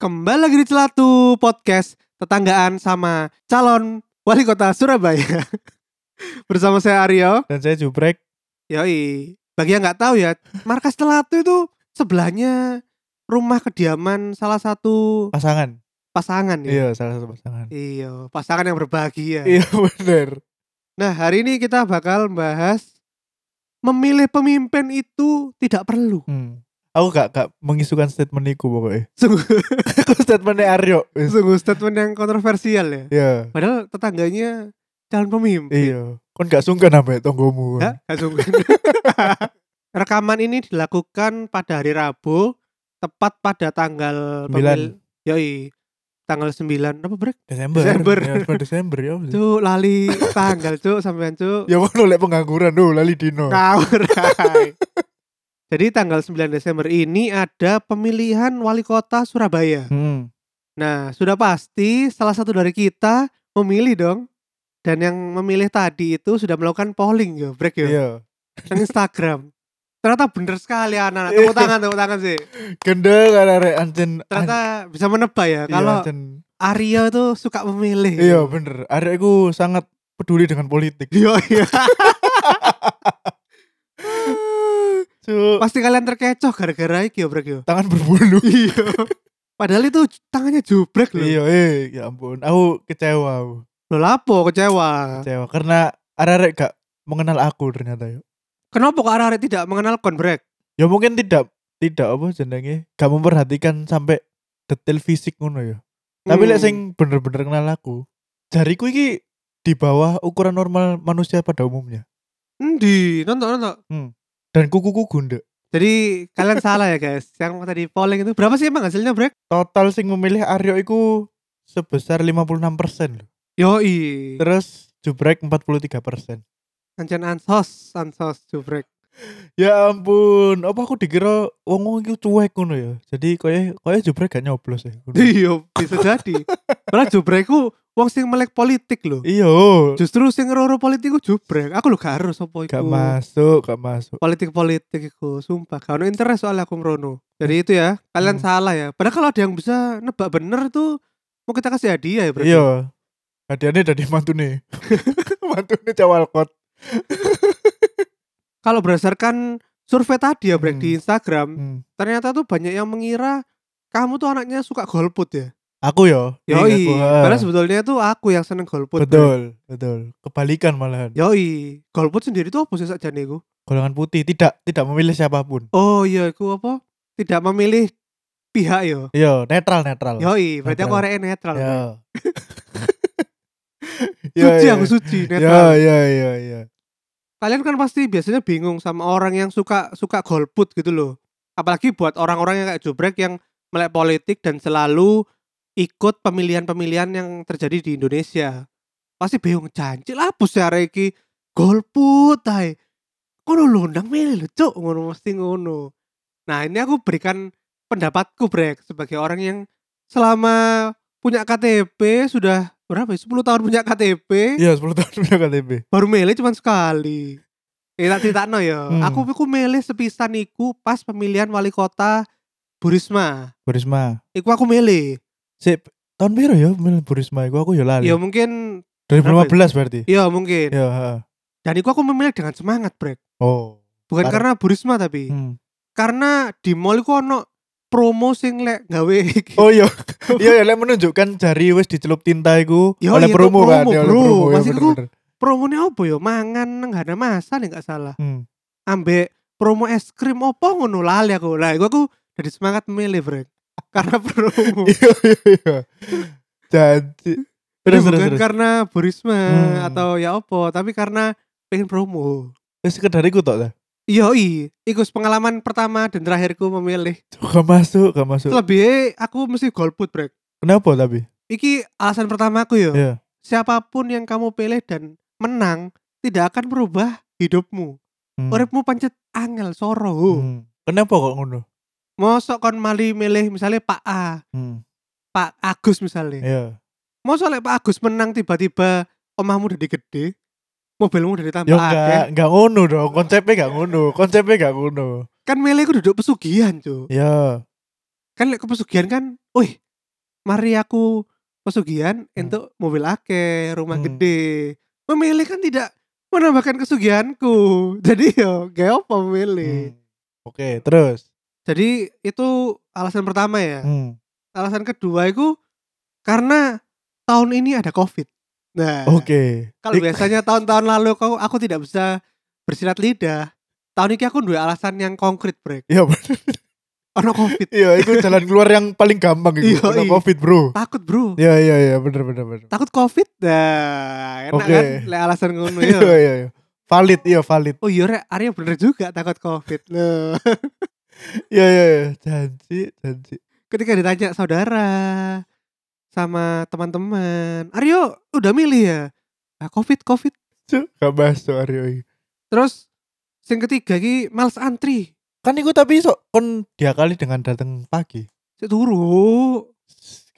Kembali lagi di Celatu Podcast Tetanggaan sama calon wali kota Surabaya Bersama saya Aryo dan saya jubrek Yoi Bagi yang nggak tahu ya Markas Celatu itu sebelahnya rumah kediaman salah satu pasangan pasangan ya iya salah satu pasangan Iya pasangan yang berbahagia iya bener Nah hari ini kita bakal bahas Memilih pemimpin itu tidak perlu hmm. aku gak gak mengisukan statement iku pokoknya Sungguh, aku statementnya Aryo Wis. sungguh statement yang kontroversial ya iya Padahal tetangganya calon pemimpin iya kon gak sungkan sampai tonggomu Hah? Gak sungguh. Ya, Rekaman ini dilakukan pada hari Rabu tepat pada tanggal pemil- Yoi. Tanggal 9 apa brek? Desember Desember. ya, bulan Desember ya Wis. Cuk, lali tanggal cuk sampean cuk. ya kon oleh pengangguran tuh lali dino Ngawur, Rai. Jadi tanggal 9 Desember ini ada pemilihan wali kota Surabaya. hmm. Nah, sudah pasti salah satu dari kita memilih dong. Dan yang memilih tadi itu sudah melakukan polling yo, brek yo. iya Nang Instagram. Ternyata bener sekali anak-anak. Tepuk tangan, tepuk tangan sih. gendeng arek ancen ternyata bisa menebak ya an- iya, kalau ancen. Aryo tuh suka memilih. iya bener arek iku sangat peduli dengan politik Iya, iya. Cuk. Pasti kalian terkecoh gara-gara iki ya, Brek ya. tangan berbulu Iya. Padahal itu tangannya jubrek loh. iya eh ya ampun aku kecewa aku. Loh lapo kecewa. kecewa karena arek-arek gak mengenal aku ternyata ya. Kenapa kok Aryo tidak mengenal konbrek? Ya mungkin tidak tidak apa jenenge gak memperhatikan sampai detail fisik ngono ya. Tapi lek Hmm. sing bener-bener kenal aku, jariku iki di bawah ukuran normal manusia pada umumnya endi? Nonton nonton. dan kuku-kuku gundek. Jadi kalian salah ya, guys. Yang tadi polling itu berapa sih emang hasilnya, Brek? Total sing memilih Aryo iku sebesar 56% loh. Yoi. Terus Jubrek 43%. Ancen ansos, ansos jubrek. Ya ampun, apa aku dikira wong-wong iki cuek ngono ya. Jadi koyo koyo Jubrek gak nyoblos ya. Iya, bisa jadi. Padahal jubrekku wong sing melek politik loh. Iya. Justru sing ngeroro politik ku jubrek. Aku lho gak harus apa iku. Gak masuk, gak masuk. Politik-politik iku, sumpah. Gak ono interest soalnya aku merono. Jadi itu ya, kalian Hmm. salah ya. Padahal kalau ada yang bisa nebak bener tuh mau kita kasih hadiah ya berarti. Iya. Hadiahnya dari mantune. mantune Cawalkot. Kalau berdasarkan survei tadi ya Brek Hmm. di Instagram, Hmm. ternyata tuh banyak yang mengira kamu tuh anaknya suka golput ya. Aku yo. Yoi. aku, ah. Padahal sebetulnya tuh aku yang seneng golput. Brek. betul, betul. Iya. Kebalikan malahan. Yoi. Golput sendiri tuh apa sih sakjane iku? Golongan putih tidak tidak memilih siapapun. Oh iya, aku apa? Tidak memilih pihak yo. Yo, Iya, netral netral. Iya. Yoi, berarti aku Netral. arek netral. Brek. Yo. Iya, suci aku suci Yo, netral. yo, yo, yo. Kalian kan pasti biasanya bingung sama orang yang suka suka golput gitu loh. Apalagi buat orang-orang yang kayak Jubrek yang melek politik dan selalu ikut pemilihan-pemilihan yang terjadi di Indonesia. Pasti bingung janji lah bos ya iki golput ay. Kono londang milih lho cuk ngono mesti ngono. Nah, ini aku berikan pendapatku Brek sebagai orang yang selama punya KTP sudah berapa ya? 10 tahun punya KTP. Yo, 10 Iya, tahun punya KTP. baru milih cuma sekali eh tak ceritakno ya Hmm. aku aku milih sepisan iku pas pemilihan wali kota Burisma Burisma. iku aku milih Si tahun biru ya, yo milih Burisma iku aku yo lali. ya mungkin 2015 berarti. ya mungkin Yo, ha. dan iku aku memilih dengan semangat brek Oh. bukan Parah. karena Burisma tapi Hmm. karena di mall iku ono promo sing lek gawe iki Oh iya, iya ya, lek menunjukkan jari wis dicelup tinta iku Yo, oleh iya, itu promo kan, promo, ya, oleh bro. promo ya Masih iku- bener-bener. promone apa ya mangan nang hana masa nih nggak salah Hmm. ambek promo es krim opo ngono lali aku lah iku aku dari semangat milih brek karena promo Iya iya iya. Janji. Jadi Terus terus Iya, bukan terus. karena Burisma Hmm. atau ya opo, tapi karena pengen promo. Wis sekedar iku tok ta. Iya, iku pengalaman pertama dan terakhirku memilih. Gak masuk, gak masuk. Lebih aku mesti golput brek. Kenapa tapi? Iki alasan pertamaku ya, yo. Iya. Siapapun yang kamu pilih dan menang tidak akan merubah hidupmu. Hmm. Uripmu pancet angel soro. Hmm. Kenapa kok ngono? Mosok kon mali milih misalnya Pak A, Hmm. Pak Agus misalnya. Iya. Mosok lek Pak Agus menang tiba-tiba omahmu udah gede, mobilmu udah ditambah Ya akeh. enggak, enggak ngono dong. Konsepnya enggak ngono. Konsepnya enggak ngono. Kan milih aku duduk pesugihan, Cuk. Ya. Kan lek ke pesugihan kan, wih, mari aku pesugihan Hmm. entuk mobil akeh, rumah Hmm. gede. Memilih kan tidak menambahkan kesugihanku. Jadi yo, gak apa memilih. Hmm. Oke, terus. Jadi itu alasan pertama ya. Hmm. alasan kedua itu karena tahun ini ada covid nah Oke. kalau Ik- biasanya tahun-tahun lalu kau aku tidak bisa bersilat lidah tahun ini aku dua alasan yang konkret break Iya, bener. ono covid Iya, itu jalan keluar yang paling gampang itu. Iya, Kena iya. Covid, Bro. takut bro Iya, iya, iya, bener bener bener. takut covid nah enak Oke. kan le alasan ngono Iya, ya iya, iya. Valid, iya valid. oh iya rek Arya bener juga takut covid loh Iya, iya, iya. Janji, janji. ketika ditanya saudara sama teman-teman Aryo udah milih ya nah, covid covid Cuk, gak bahas tuh Aryo ini. terus yang ketiga ki males antri Kan iku tapi sok kon diakali dengan datang pagi. Cek turu.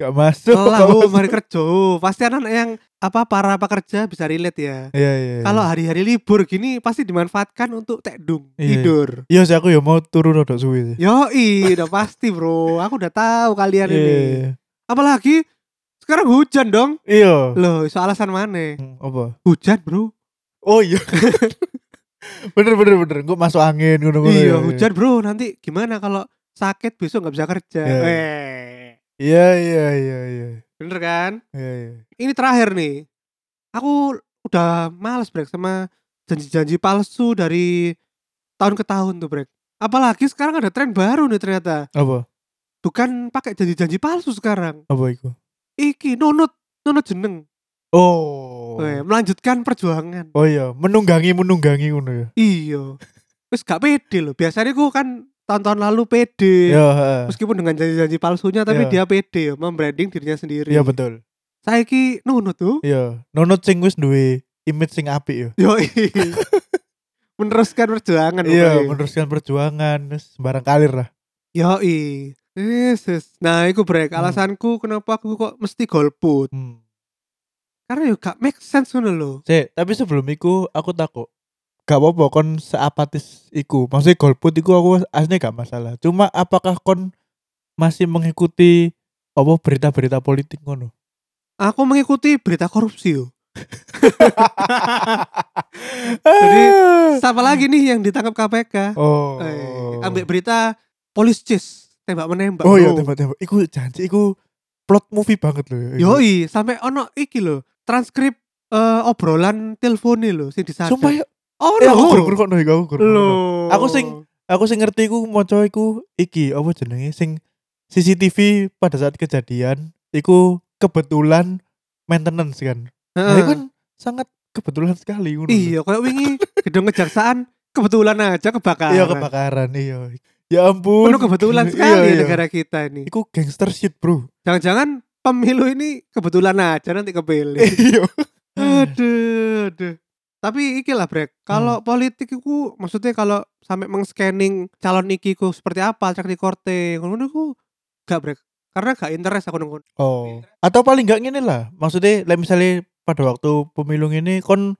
Gak masuk. Lelah gak oh, masuk. mari kerja. Pasti anak yang apa para pekerja bisa relate ya. Iya, iya. iya. Kalau hari-hari libur gini pasti dimanfaatkan untuk tekdung, Iya. tidur. Iya sih aku ya mau turun rodok suwi sih. Yoi, udah pasti bro. Aku udah tahu kalian ini. Iya. Apalagi sekarang hujan dong. Iya. Loh, iso alasan mana? Hmm, Apa? Hujan bro. Oh iya. bener bener bener. Gue masuk angin ngono ngono. Iya, hujan bro. Nanti gimana kalau sakit besok nggak bisa kerja? Iya. Weh, Iya iya iya iya. bener kan? Iya iya. ini terakhir nih aku udah males break sama janji-janji palsu dari tahun ke tahun tuh break apalagi sekarang ada tren baru nih ternyata Apa? bukan pakai janji-janji palsu sekarang Apa itu? iki nunut nunut jeneng Oh. Weh, melanjutkan perjuangan Oh iya, menunggangi menunggangi ngono ya. iyo terus Iya. gak pede loh biasanya gue kan tahun-tahun lalu pede Iya, heeh. meskipun dengan janji-janji palsunya tapi dia Iya. pede ya, membranding dirinya sendiri Iya betul. saya ki nunut tuh Iya, nonot sing wis duwe image sing apik ya. yo meneruskan perjuangan Iya, pokoknya. meneruskan perjuangan wis barang kalir lah. Yoi. Yesus. Nah, iku break. Hmm. Alasanku kenapa aku kok mesti golput. Hmm. Karena yo gak make sense ngono lho. Cek, tapi sebelum iku aku takut. Gak apa-apa kon seapatis iku. Maksudnya golput iku aku aslinya gak masalah. Cuma apakah kon masih mengikuti apa berita-berita politik ngono? Aku mengikuti berita korupsi yo. Jadi Siapa lagi nih yang ditangkap KPK? oh. Eh, ambek berita polis chase tembak menembak. Oh bro. iya tembak-tembak. Iku janji iku plot movie banget loh. ya. Iku. Yoi, sampai ono iki lho, transkrip eh, obrolan telepone lho sing disadap. Sumpah ya, oh eh, aku gur-gur kok no, iku, aku gur-gur Lho. no. Aku sing- Aku sing ngerti iku maca iku iki apa jenenge sing CCTV pada saat kejadian iku kebetulan maintenance kan. Nah, itu Heeh. kan sangat kebetulan sekali ngono. Iya, kayak wingi gedung kejaksaan kebetulan aja kebakaran. Iya kebakaran, iya. Ya ampun. Penuh kebetulan Iya, sekali iya. negara kita ini. Iku gangster shit, Bro. Jangan-jangan pemilu ini kebetulan aja nanti kepilih. Iya. aduh, aduh. Tapi iki lah brek. Kalau Hmm. politik iku maksudnya kalau sampai meng-scanning calon iki ku seperti apa track record-e ngono iku gak brek. Karena gak interest aku nunggu. Oh. Atau paling gak ngene lah. Maksudnya like misalnya pada waktu pemilu ini kon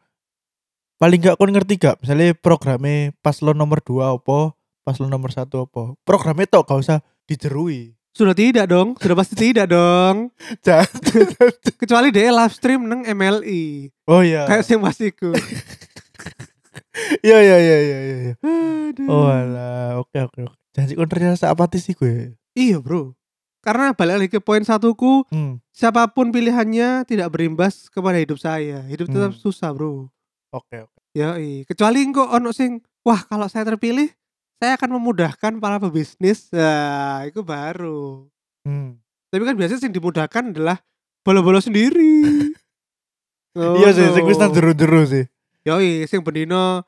paling gak kon ngerti gak misalnya programnya paslon nomor 2 apa, paslon nomor 1 apa. Programnya tok gak usah dijerui. Sudah tidak dong, sudah pasti tidak dong. Jangan. Kecuali dia live stream neng MLI. oh iya. Kayak sing pastiku. Iya iya iya iya iya. iya. Aduh. Oh alah, oke oke oke. Janji kon ternyata apatis sih gue. Iya, Bro. Karena balik lagi ke poin satuku, Hmm. siapapun pilihannya tidak berimbas kepada hidup saya. Hidup tetap Hmm. susah, Bro. Oke oke. Ya, kecuali engko ono sing, wah kalau saya terpilih, saya akan memudahkan para pebisnis. Nah, itu baru. Hmm. Tapi kan biasanya sing dimudahkan adalah bolo-bolo sendiri. Oh. Ngono. Iya sih, sing wis nang jero-jero sih. Yoi, sing bendino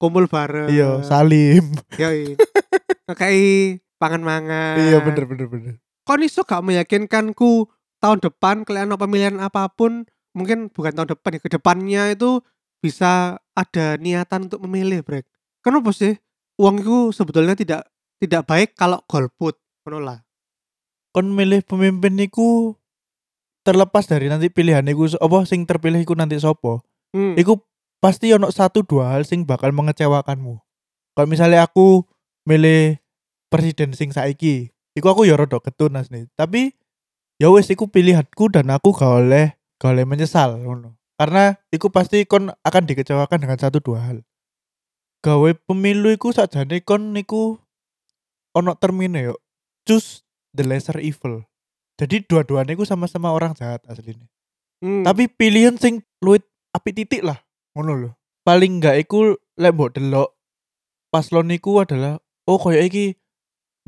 kumpul bareng. Iya, Salim. Yoi. Ngekei pangan-mangan. Iya bener bener bener. kon iso gak meyakinkanku tahun depan kalian pemilihan apapun mungkin bukan tahun depan ya kedepannya itu bisa ada niatan untuk memilih brek kenapa sih uang itu sebetulnya tidak tidak baik kalau golput menolak kon milih pemimpin niku terlepas dari nanti pilihan niku s- apa sing terpilih iku nanti sopo hmm. iku pasti ono satu dua hal sing bakal mengecewakanmu kalau misalnya aku milih presiden sing saiki iku aku ya rodok ketunas nih tapi ya wes iku pilihanku dan aku gak oleh gak oleh menyesal ngono. karena iku pasti kon akan dikecewakan dengan satu dua hal gawe pemilu iku sakjane kon niku ono termine yo choose the lesser evil jadi dua-duanya iku sama-sama orang jahat aslinya Hmm. tapi pilihan sing luwih api titik lah ngono lho paling enggak iku lek mbok delok paslon niku adalah oh koyo iki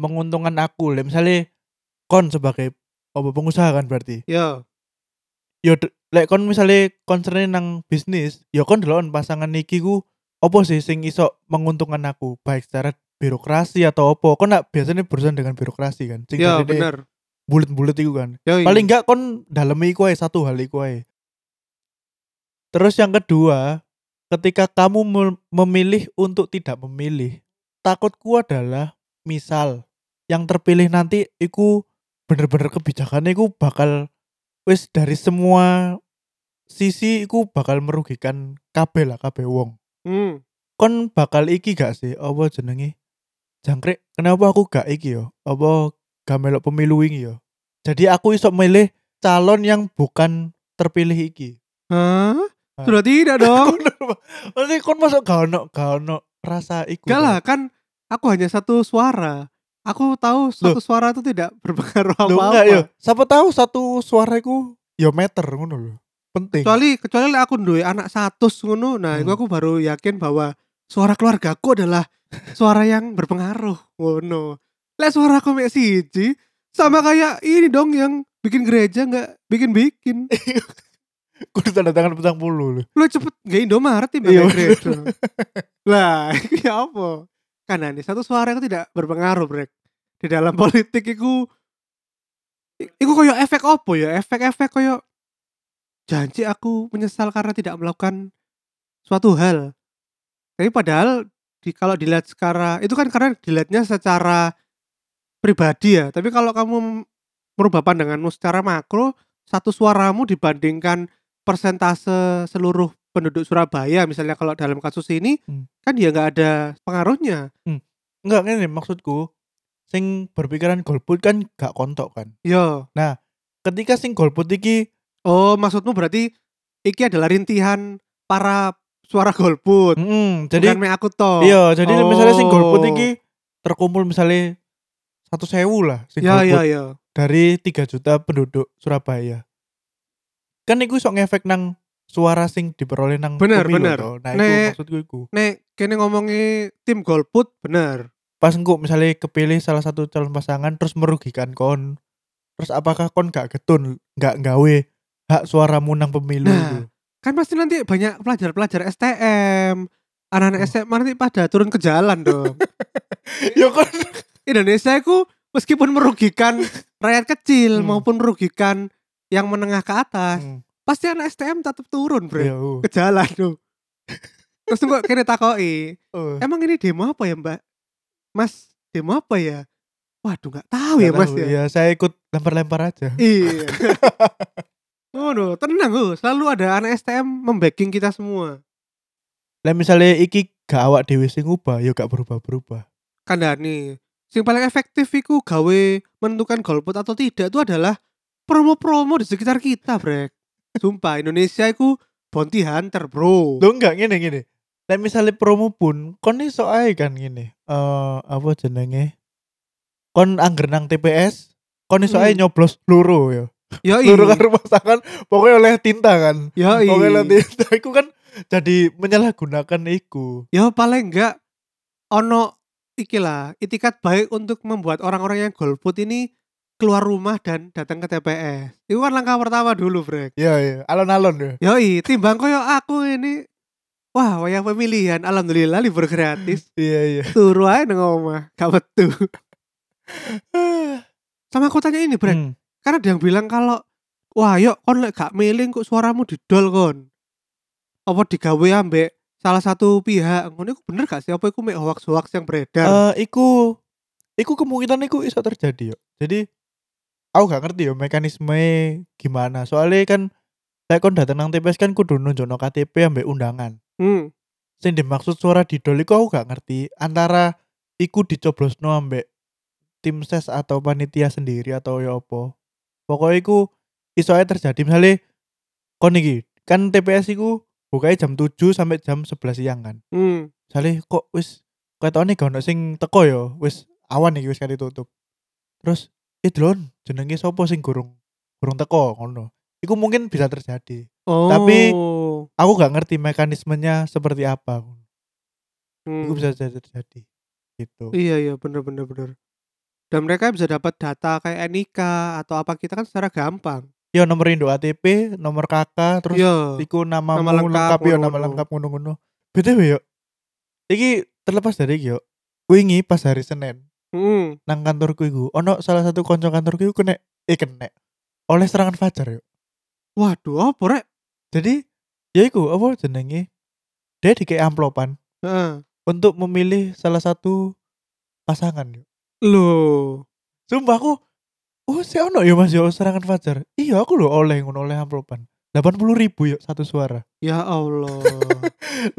menguntungkan aku lek misale kon sebagai apa pengusaha kan berarti ya yo de- lek kon misale concern nang bisnis yo kon delokan pasangan niki ku opo sih sing iso menguntungkan aku baik secara birokrasi atau opo kon nak biasanya berurusan dengan birokrasi kan sing ya jarine bener bulet-bulet iku kan Yoi. paling enggak kon dalemi iku ae satu hal iku ae. Terus yang kedua, ketika kamu mem- memilih untuk tidak memilih, takutku adalah misal yang terpilih nanti iku bener-bener kebijakannya iku bakal wis dari semua sisi iku bakal merugikan kabeh lah kabeh wong Hmm. kon bakal iki gak sih apa jenenge jangkrik kenapa aku gak iki yo apa gak melok pemilu wingi yo jadi aku iso milih calon yang bukan terpilih iki Hah? sudah tidak dong Maksudnya kon masuk gak ono gak ono rasa iku Enggak lah kan aku hanya satu suara. Aku tahu satu suara itu tidak berpengaruh Loh, enggak yo apa-apa. siapa tahu satu suara iku yo meter ngono lho penting Kecuali kecuali lek aku duwe anak satu ngono. Nah, Hmm. itu aku baru yakin bahwa suara keluargaku adalah suara yang berpengaruh. Ngono. Lek suara aku mek siji sama kayak ini dong yang bikin gereja nggak bikin-bikin. kudu tanda tangan petang puluh lho Lu cepet nggak Indomaret timbang Iya, nggak gereja. lah, iki apa? Karena nih satu suara itu tidak berpengaruh, Brek. Di dalam politik iku i- iku koyo efek opo ya? Efek-efek koyo janji aku menyesal karena tidak melakukan suatu hal. Tapi padahal di, kalau dilihat secara itu kan karena dilihatnya secara pribadi ya. Tapi kalau kamu merubah pandanganmu secara makro, satu suaramu dibandingkan persentase seluruh penduduk Surabaya misalnya kalau dalam kasus ini Hmm. kan dia nggak ada pengaruhnya. enggak ngene maksudku sing berpikiran golput kan gak kontok kan Yo. ketika sing golput iki Oh, maksudmu berarti iki adalah rintihan para suara golput. mm, Jadi jadi Bukan me aku toh. Iya, jadi Oh. misalnya sing golput iki terkumpul misalnya satu sewu lah sing Ya, ya, golput ya. dari 3 juta penduduk Surabaya. Kan iku sok ngefek nang suara sing diperoleh nang Bener, pemilu bener. toh. Nah, iku Nek- maksudku iku. Nek kene ngomongi tim golput bener. Pas engko misalnya kepilih salah satu calon pasangan terus merugikan kon. Terus apakah kon gak getun, gak gawe hak suaramu nang pemilu gitu? Nah. iku? Kan pasti nanti banyak pelajar-pelajar STM, anak-anak Oh. SMA nanti pada turun ke jalan dong. Ya kon Indonesia itu meskipun merugikan rakyat kecil Hmm. maupun merugikan yang menengah ke atas, Hmm, pasti anak STM tetap turun, Bro. iya, uh. Ke jalan tuh. Terus kok kene takoki, Uh, "Emang ini demo apa ya, Mbak?" "Mas, demo apa ya?" "Waduh, nggak tahu ya, gak Mas tahu. ya." Ya, saya ikut lempar-lempar aja. Iya. Oh, no, tenang loh. Selalu ada anak STM membacking kita semua. Lah misalnya iki gak awak dhewe sing ngubah ya gak berubah-berubah. Kandani. Sing paling efektif iku gawe menentukan golput atau tidak itu adalah promo-promo di sekitar kita, Brek. Sumpah, Indonesia iku bounty hunter, Bro. Lo enggak ngene ngene. Lah misalnya promo pun kon iso ae kan ngene. Eh apa jenenge? Kon angger nang TPS, kon iso ae Hmm. nyoblos loro ya. Yoi. Loro karo pasangan pokoknya oleh tinta kan. Yoi. Pokoknya oleh tinta iku kan jadi menyalahgunakan iku. Ya paling enggak ono ikilah itikat baik untuk membuat orang-orang yang golput ini keluar rumah dan datang ke TPS. Itu kan langkah pertama dulu, Brek. Iya iya, alon-alon ya. Yoi, timbang koyo aku ini Wah, wayang pemilihan. Alhamdulillah libur gratis. Iya iya. Turu aja nang omah. Gak betul. Sama aku tanya ini, Brek. Kan Hmm. Karena ada yang bilang kalau Wah, yuk kon lek gak milih kok suaramu didol kon. apa digawe ambek salah satu pihak ngono iku bener gak sih apa iku mek hoax-hoax yang beredar Eh, iku iku kemungkinan iku iso terjadi yo. Jadi aku gak ngerti yo mekanisme gimana. Soalnya kan saya kon datang nang TPS kan kudu nunjukno KTP ambek undangan. hmm. Sing dimaksud suara didol iku aku gak ngerti antara iku dicoblosno ambek tim ses atau panitia sendiri atau ya apa. Pokoknya iku iso ae terjadi misalnya kon iki kan TPS iku bukanya jam 7 sampai jam 11 siang kan. hmm. Salih kok wis ketone gak ono sing teko ya, wis awan iki wis kate tutup. Terus idlon jenenge sapa sing gurung gurung teko ngono. Iku mungkin bisa terjadi. oh Tapi- Aku gak ngerti mekanismenya seperti apa. Hmm. Iku bisa saja terjadi. Gitu. iya iya bener bener bener dan mereka bisa dapat data kayak NIK atau apa kita kan secara gampang Yo nomor induk ATP, nomor KK, terus iya iku namamu Nama lengkap, lengkap, yo nama ngono-ngono. lengkap ngono-ngono. BTW yo. Iki terlepas dari iki yo. Wingi pas hari Senin hmm. nang kantorku iku ono salah satu konco kantorku iku kena eh kena oleh serangan fajar yo. waduh apa rek Jadi ya iku apa jenenge? Dia dikei amplopan Heeh. untuk memilih salah satu pasangan yo. loh Sumpah aku Oh, si ono ya Mas yo serangan fajar. Iya, aku lho oleh ngono oleh amplopan. 80.000 ribu yuk satu suara. ya Allah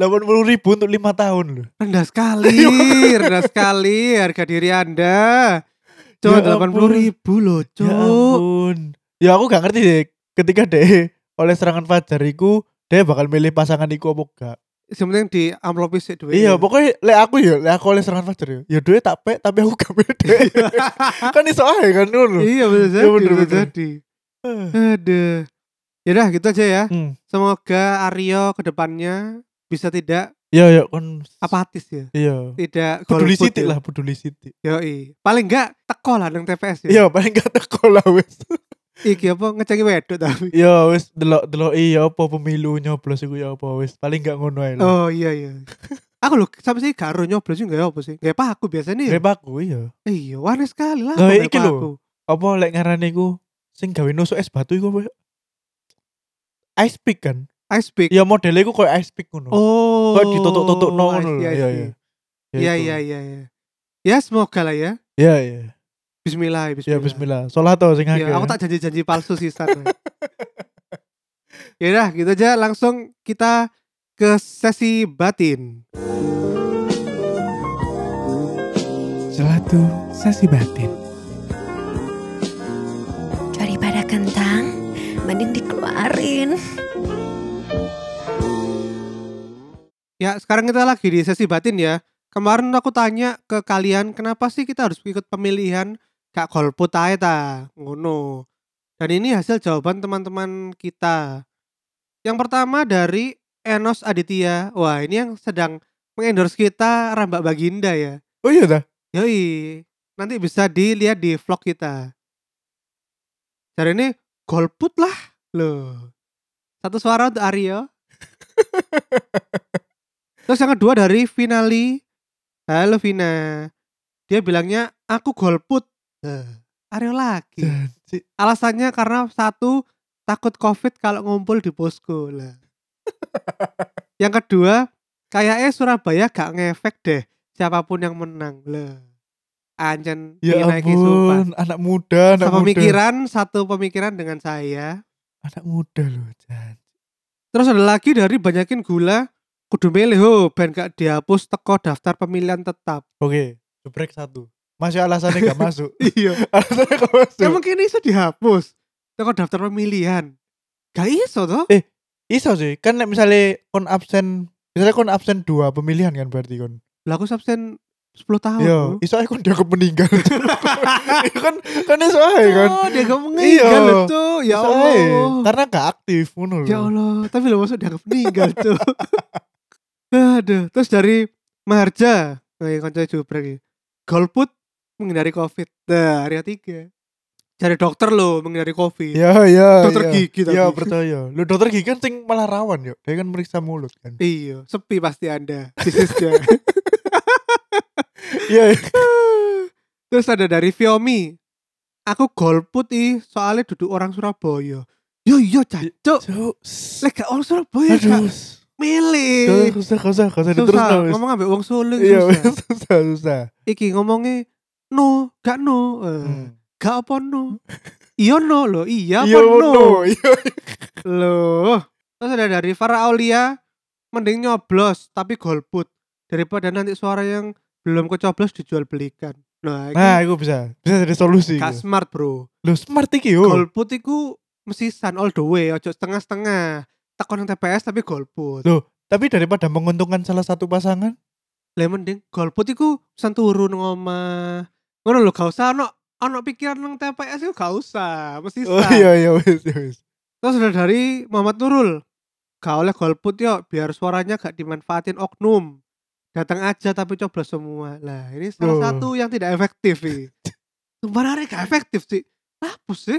80.000 ribu untuk lima tahun loh. rendah sekali rendah sekali harga diri anda Cok, Ya Ya delapan puluh ampun. ribu loh, cok. Ya ampun. Ya aku gak ngerti deh. Ketika deh oleh serangan fajar iku, dia bakal milih pasangan iku apa gak. Yang penting di amplopis sih duit. Iya, pokoknya le aku ya, le aku oleh serangan fajar ya. Ya duwe tak pek, tapi aku gak pede. kan iso ae kan ngono. iya bener Iya, jadi, bener, bener bener. jadi. Aduh. Yaudah gitu aja ya. Hmm. Semoga Aryo kedepannya bisa tidak Iya, ya kon apatis ya, Iya. tidak Peduli golput sithik ya. lah, peduli sithik. Yoi. Paling enggak teko lah nang TPS ya. Iya, paling gak teko lah wis. Iki apa ngeceki wedok tapi. Iya, wis delok-delok iya apa pemilu nyoblos iku ya apa wis. Paling gak ngono ae lah. Oh iya iya. Aku loh sampai sih gak ero nyoblos juga ya apa sih? Gak apa aku biasanya ya. Kayak aku iya. Iya, warna sekali lah. kok Gawe gak iki apa lho. aku. Apa lek ngarane iku sing gawe nusuk es batu iku apa? ya? Ice pick kan. Ice pick. Ya modelnya iku koyo ice pick ngono. Oh. Kayak ditutuk-tutuk I ngono. see, lho. I see. Iya, iya. Iya itu. iya iya iya. Ya semoga lah ya. Iya, iya. Bismillah, bismillah. Ya bismillah. Salat to sing Ya, akeh. aku tak janji-janji palsu sih Stan. ya udah gitu aja langsung kita ke sesi batin. Selatu sesi batin. Daripada kentang, mending dikeluarin. Ya, sekarang kita lagi di sesi batin ya. Kemarin aku tanya ke kalian kenapa sih kita harus ikut pemilihan Kak Golput ae ta? Ngono. Dan ini hasil jawaban teman-teman kita. Yang pertama dari Enos Aditya. Wah, ini yang sedang mengendorse kita Rambak Baginda ya. Oh iya dah. Yoi, nanti bisa dilihat di vlog kita. Dari ini golput lah loh. Satu suara untuk Aryo. Terus yang kedua dari Finali. Halo Vina. Dia bilangnya aku golput. Eh, Aryo lagi. Janji. Alasannya karena satu takut covid kalau ngumpul di posko lah. yang kedua kayaknya Surabaya gak ngefek deh siapapun yang menang lah. Anjen Ya dinaiki Iya, sumpah. ampun, anak muda, anak Satu muda. pemikiran, satu pemikiran dengan saya. Anak muda loh, Jan. Terus ada lagi dari banyakin gula kudu milih ho ben gak dihapus teko daftar pemilihan tetap. Oke, jebrek satu. Masih alasannya gak masuk. Iya. alasannya gak masuk. Emang kini Ya iso dihapus teko daftar pemilihan. Gak iso toh? Iso sih, kan nek misalnya kon absen, misalnya kon absen dua pemilihan kan berarti kon. Lah aku absen 10 tahun. Iya, loh. iso ae kon dianggap meninggal. Iya kan kan iso ae kan. Oh, dia gak meninggal Iya. loh, Cuk. Ya Iso Allah. ae. Karena gak aktif ngono lho. Ya Allah, tapi lo maksud dianggap meninggal, Cuk. Aduh, terus dari Maharja, kayak kanca jubrek iki. Golput menghindari Covid. Nah, area 3. Cari dokter lo menghindari Covid. Ya ya. Dokter ya. gigi tapi. Ya percaya. Lu dokter gigi kan sing malah rawan yo. Dia kan meriksa mulut kan. Iya, sepi pasti Anda. Bisnisnya. Iya. iya. Terus ada dari Viomi. Aku golput ih, soalnya duduk orang Surabaya. Yo yo, cacuk. Cuk. Lek gak orang Surabaya, Kak. Aduh. Eh, milih. Gak usah, gak usah, gak usah diterus Susah ngomong ambek wong Solo Iya, susah. susah, susah. Iki ngomongnya no, gak no. Eh, Hmm. Gak apa no. Iya no loh, iya apa Iya, no. no. Iya. Loh, terus ada dari Farah Aulia mending nyoblos tapi golput daripada nanti suara yang belum kecoblos dijual belikan. Nah, ini Nah, iya. itu bisa. Bisa jadi solusi. gak itu. smart, Bro. Loh, smart iki yo. Golput iku mesisan all the way, ojo setengah-setengah. Tekon yang TPS tapi golput. Loh. Tapi daripada menguntungkan salah satu pasangan, Lah mending golput iku pesan turun ngomah. Ngono lho, gak usah ono ono pikiran nang TPS iku gak usah, mesisan. oh iya iya wis ya wis. Terus sudah dari Muhammad Nurul. Gak oleh golput yo, biar suaranya gak dimanfaatin oknum. Datang aja tapi coblos semua. Lah, ini salah Loh. satu yang tidak efektif iki. Sebenarnya gak efektif sih. Apa sih?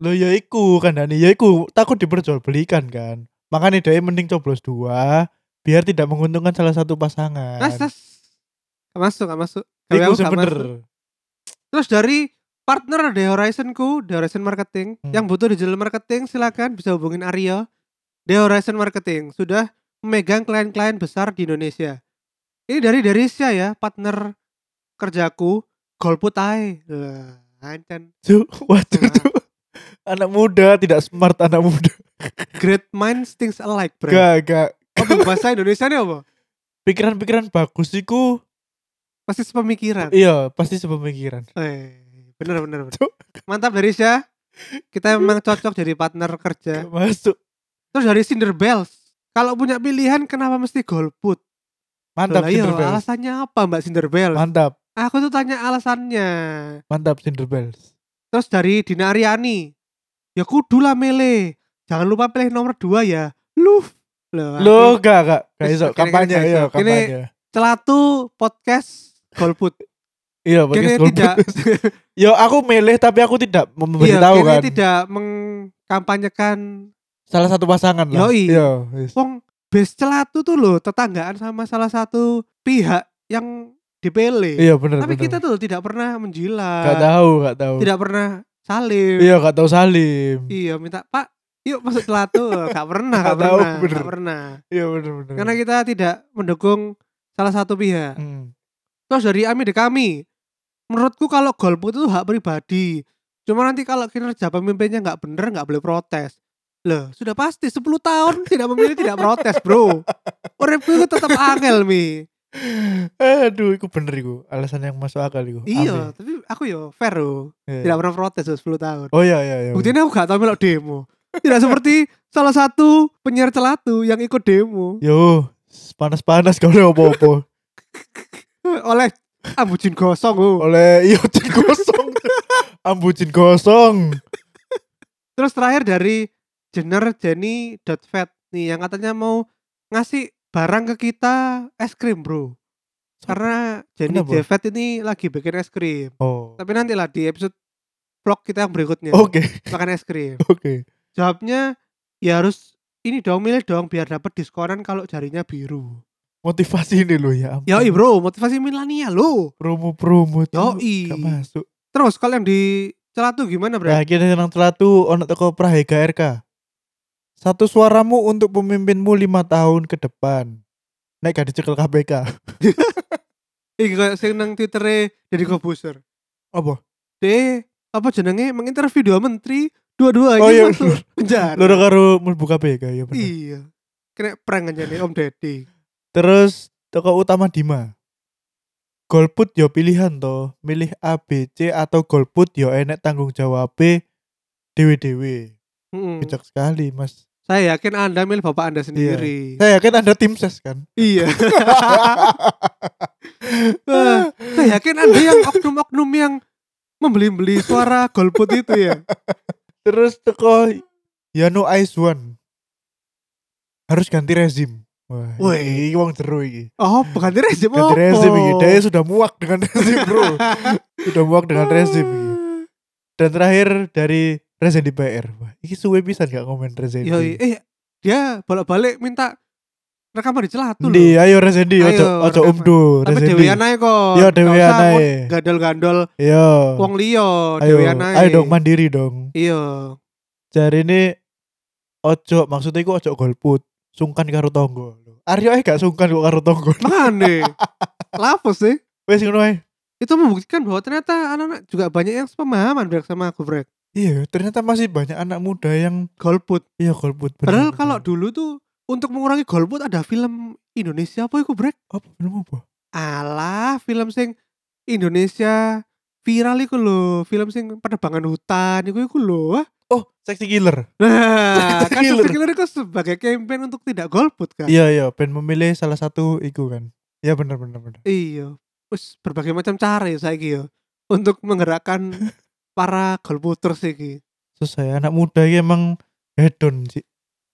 Loh ya iku kandani ya iku takut diperjualbelikan kan. Makanya dia mending coblos dua biar tidak menguntungkan salah satu pasangan. Nas, nas. Gak masuk, gak masuk. Gawe Kan. aku Iku gak masuk. sebener. Terus dari partner The Horizon ku, The Horizon Marketing. Hmm. Yang butuh digital marketing silakan bisa hubungin Aryo. The Horizon Marketing sudah memegang klien-klien besar di Indonesia. Ini dari Derisya ya, partner kerjaku golput ae. Lah, kan ancen. Cuk, waduh Nah. cuk. Anak muda tidak smart anak muda. Great minds thinks alike, bro. Gak gak. Apa bahasa Indonesia nih apa? Pikiran-pikiran bagus iku. Pasti sepemikiran. Iya, pasti sepemikiran. Eh, bener bener. bener. Cuk. Mantap Derisya. Kita memang cocok jadi partner kerja. Gak masuk. Terus dari Cinder Bells. Kalau punya pilihan kenapa mesti golput? Mantap Lah iya, Cinderbell. Alasannya apa Mbak Cinderbell? Mantap, Aku tuh tanya alasannya. mantap Cinderbell. Terus dari Dina Ariani. Ya kudu lah mele. Jangan lupa pilih nomor 2 ya. Lu. Nah, Lo gak gak gak Wis, iso kene- kene kampanye gak iso. iya Kene- kampanye. Celatu podcast golput. Iya, pakai Kini golput. tidak Yo aku milih tapi aku tidak mem- iya, memberitahu kene kan. tidak mengkampanyekan Salah satu pasangan lah. Yoi. Yo, wis. wong base celatu tuh loh tetanggaan sama salah satu pihak yang dipilih. Iya benar. Tapi kita tuh tidak pernah menjilat. gak tahu, gak tahu. tidak pernah salim Gitu. Iya, gak tahu Salim. iya minta pak yuk masuk celatu gak pernah gak Gak tahu, pernah bener. gak pernah Iya benar benar. karena kita tidak mendukung salah satu pihak Hmm. terus dari Ami de kami menurutku kalau golput itu hak pribadi cuma nanti kalau kinerja pemimpinnya nggak bener nggak boleh protes loh sudah pasti 10 tahun tidak memilih tidak protes bro Uripku itu tetap angel mi Aduh, itu bener iku. Alasan yang masuk akal iku. iya Amin. tapi aku yo fair loh Iya. tidak pernah protes loh 10 tahun Oh iya iya iya. Buktinya aku gak tau melok demo. Tidak seperti salah satu penyiar celatu yang ikut demo Yo, panas-panas kau udah opo-opo. oleh Ambujin Gosong. oh. Oleh iyo jin kosong. Ambucin kosong. Terus terakhir dari Jenner Jenny Vet nih yang katanya mau ngasih barang ke kita es krim bro. Karena Jenny Kenapa? Vet ini lagi bikin es krim. Oh. Tapi nanti lah di episode vlog kita yang berikutnya Oke, makan es krim. oke. Jawabnya ya harus ini dong milih dong biar dapat diskonan kalau jarinya biru. Motivasi ini loh ya. ampun. Yoi bro, motivasi milenial lo. Promo-promo tuh Yoi. gak masuk. Terus kalau yang di Celatu gimana Nah, Bre? akhirnya nang telatu ono teko Prahega RK. Satu suaramu untuk pemimpinmu lima tahun ke depan. Nek gak dicekel KPK. Iki kayak sing nang Twittere dari Kobuser. Hmm. Apa? De apa jenenge menginterview dua menteri, dua-dua Oh, ini iya, masuk penjara. Loro karo mlebu KPK ya bener. Iya. Kena prank aja nih Om Deddy. Terus toko utama Dima. Golput yo pilihan to, milih A, B, C atau golput yo enek tanggung jawab B, dewe-dewe. Mm-mm. Bijak Iya. sekali, Mas. Saya yakin Anda milih bapak Anda sendiri. Saya yakin Anda tim ses kan? Iya. Wah, Saya yakin Anda yang oknum-oknum yang membeli-beli suara golput itu ya. Terus teko Yano Aizwan. Harus ganti rezim. Wah, Wih. iki wong jero iki. Oh, ganti rezim apa? Ganti rezim iki. Dia sudah muak dengan rezim, Bro. sudah muak dengan rezim iki. Dan terakhir dari Rezendi PR. Wah, iki suwe pisan gak komen Rezendi. Yoi, eh dia bolak-balik minta rekaman di Celatu loh. Di, ayo Rezendi, Ayo, ojo ojo rekaman. umdu, Tapi Rezendi. dewean ae kok. Yo Gak dewean usah ae. ngon- Gandol-gandol Yo. wong liya Oh. Ayo, dewean ae. ayo dong mandiri dong. Iya. Cari ini ojo maksudnya iku ojo golput. sungkan karo tonggo. Aryo ae gak sungkan kok karo tonggo. Nah. Mane. Lapo sih? Wes ngono ae. Itu membuktikan bahwa ternyata anak-anak juga banyak yang pemahaman brek sama gebrek. Iya, ternyata masih banyak anak muda yang Golput. iya golput. Padahal bener-bener. kalau dulu tuh untuk mengurangi golput ada film Indonesia apa iku brek? apa film apa? Alah, film sing Indonesia viral iku lho, film sing penebangan hutan iku iku lho. Oh, Sexy Killer. Nah, kan Killer. Killer itu sebagai campaign untuk tidak golput kan. Iya, iya, ben memilih salah satu iku kan. Iya bener bener bener. Iya. Wis berbagai macam cara ya saiki ya untuk menggerakkan para golputers iki. Susah ya, anak muda iki emang hedon sih.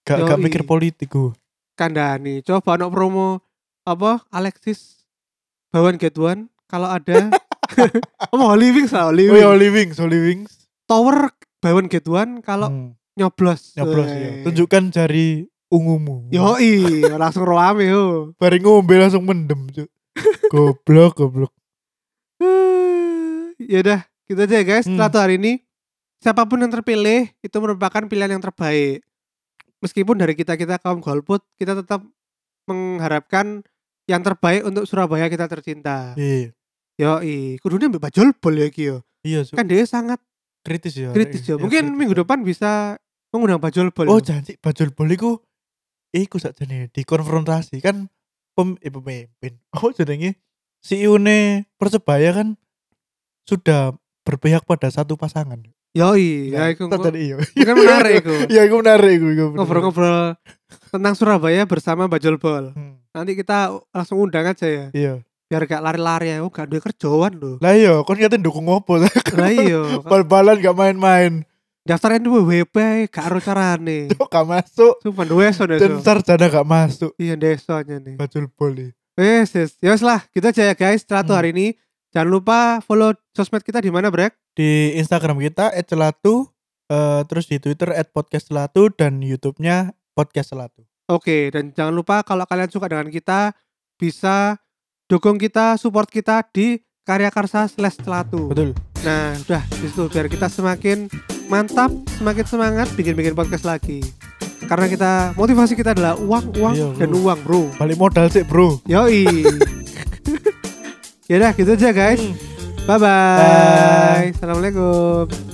Gak, gak Yoi. mikir politik gua. Kandani, coba no promo apa Alexis Bawan Get One kalau ada Omong Holy Wings lah, Holy Oh Wings. ya, Holy Wings, Holy Wings. Tower Bawan Get One kalau Hmm, nyoblos. nyoblos Weh. ya. Tunjukkan jari ungumu. Yoi, langsung roame yo. Bareng ngombe langsung mendem, Cuk. goblok, goblok. ya udah, gitu aja ya guys. Hmm. Setelah itu hari ini siapapun yang terpilih itu merupakan pilihan yang terbaik. Meskipun dari kita-kita kaum golput, kita tetap mengharapkan yang terbaik untuk Surabaya kita tercinta. Iya. Yoi, kudunya mbak Jolbol ya Ki, yo. Iya, Cuk. Kan dia sangat kritis ya. kritis Iya, yo. Mungkin kritis. minggu depan bisa mengundang Mbak Jolbol. Oh yo. janji bajul bol iku iku sakjane dikonfrontasi kan pem, eh, pemimpin. Oh jenenge CEO ne Persebaya kan sudah berpihak pada satu pasangan. Yoi, ya iku Tak tadi iya. iku kan menarik iku. Ya iku menarik iku. iku bener. Ngobrol-ngobrol tentang Surabaya bersama Mbak Jolbol. Hmm, Nanti kita langsung undang aja ya. Iya. biar gak lari-lari ya, oh gak ada kerjaan loh Lah iya, kon katanya dukung opo? lah iya Bal-balan gak main-main. daftar NWP gak ada carane Cuk gak masuk sumpah deso dan deso sarjana gak masuk. iya desonya nih Bajul bol. iya. iki. wes wes ya wes lah gitu aja ya guys setelah tuh Hmm. hari ini jangan lupa follow sosmed kita di mana brek di Instagram kita @celatu eh, terus di Twitter @podcastcelatu dan YouTube-nya podcast celatu. oke dan jangan lupa kalau kalian suka dengan kita bisa dukung kita support kita di karya karsa slash celatu Betul. nah udah disitu biar kita semakin mantap semakin semangat bikin-bikin podcast lagi karena kita motivasi kita adalah uang uang Iya, dan bro. uang bro Balik modal sih, Bro. Yoi. Yaudah gitu aja guys. Bye bye. Hmm. Bye. Assalamualaikum.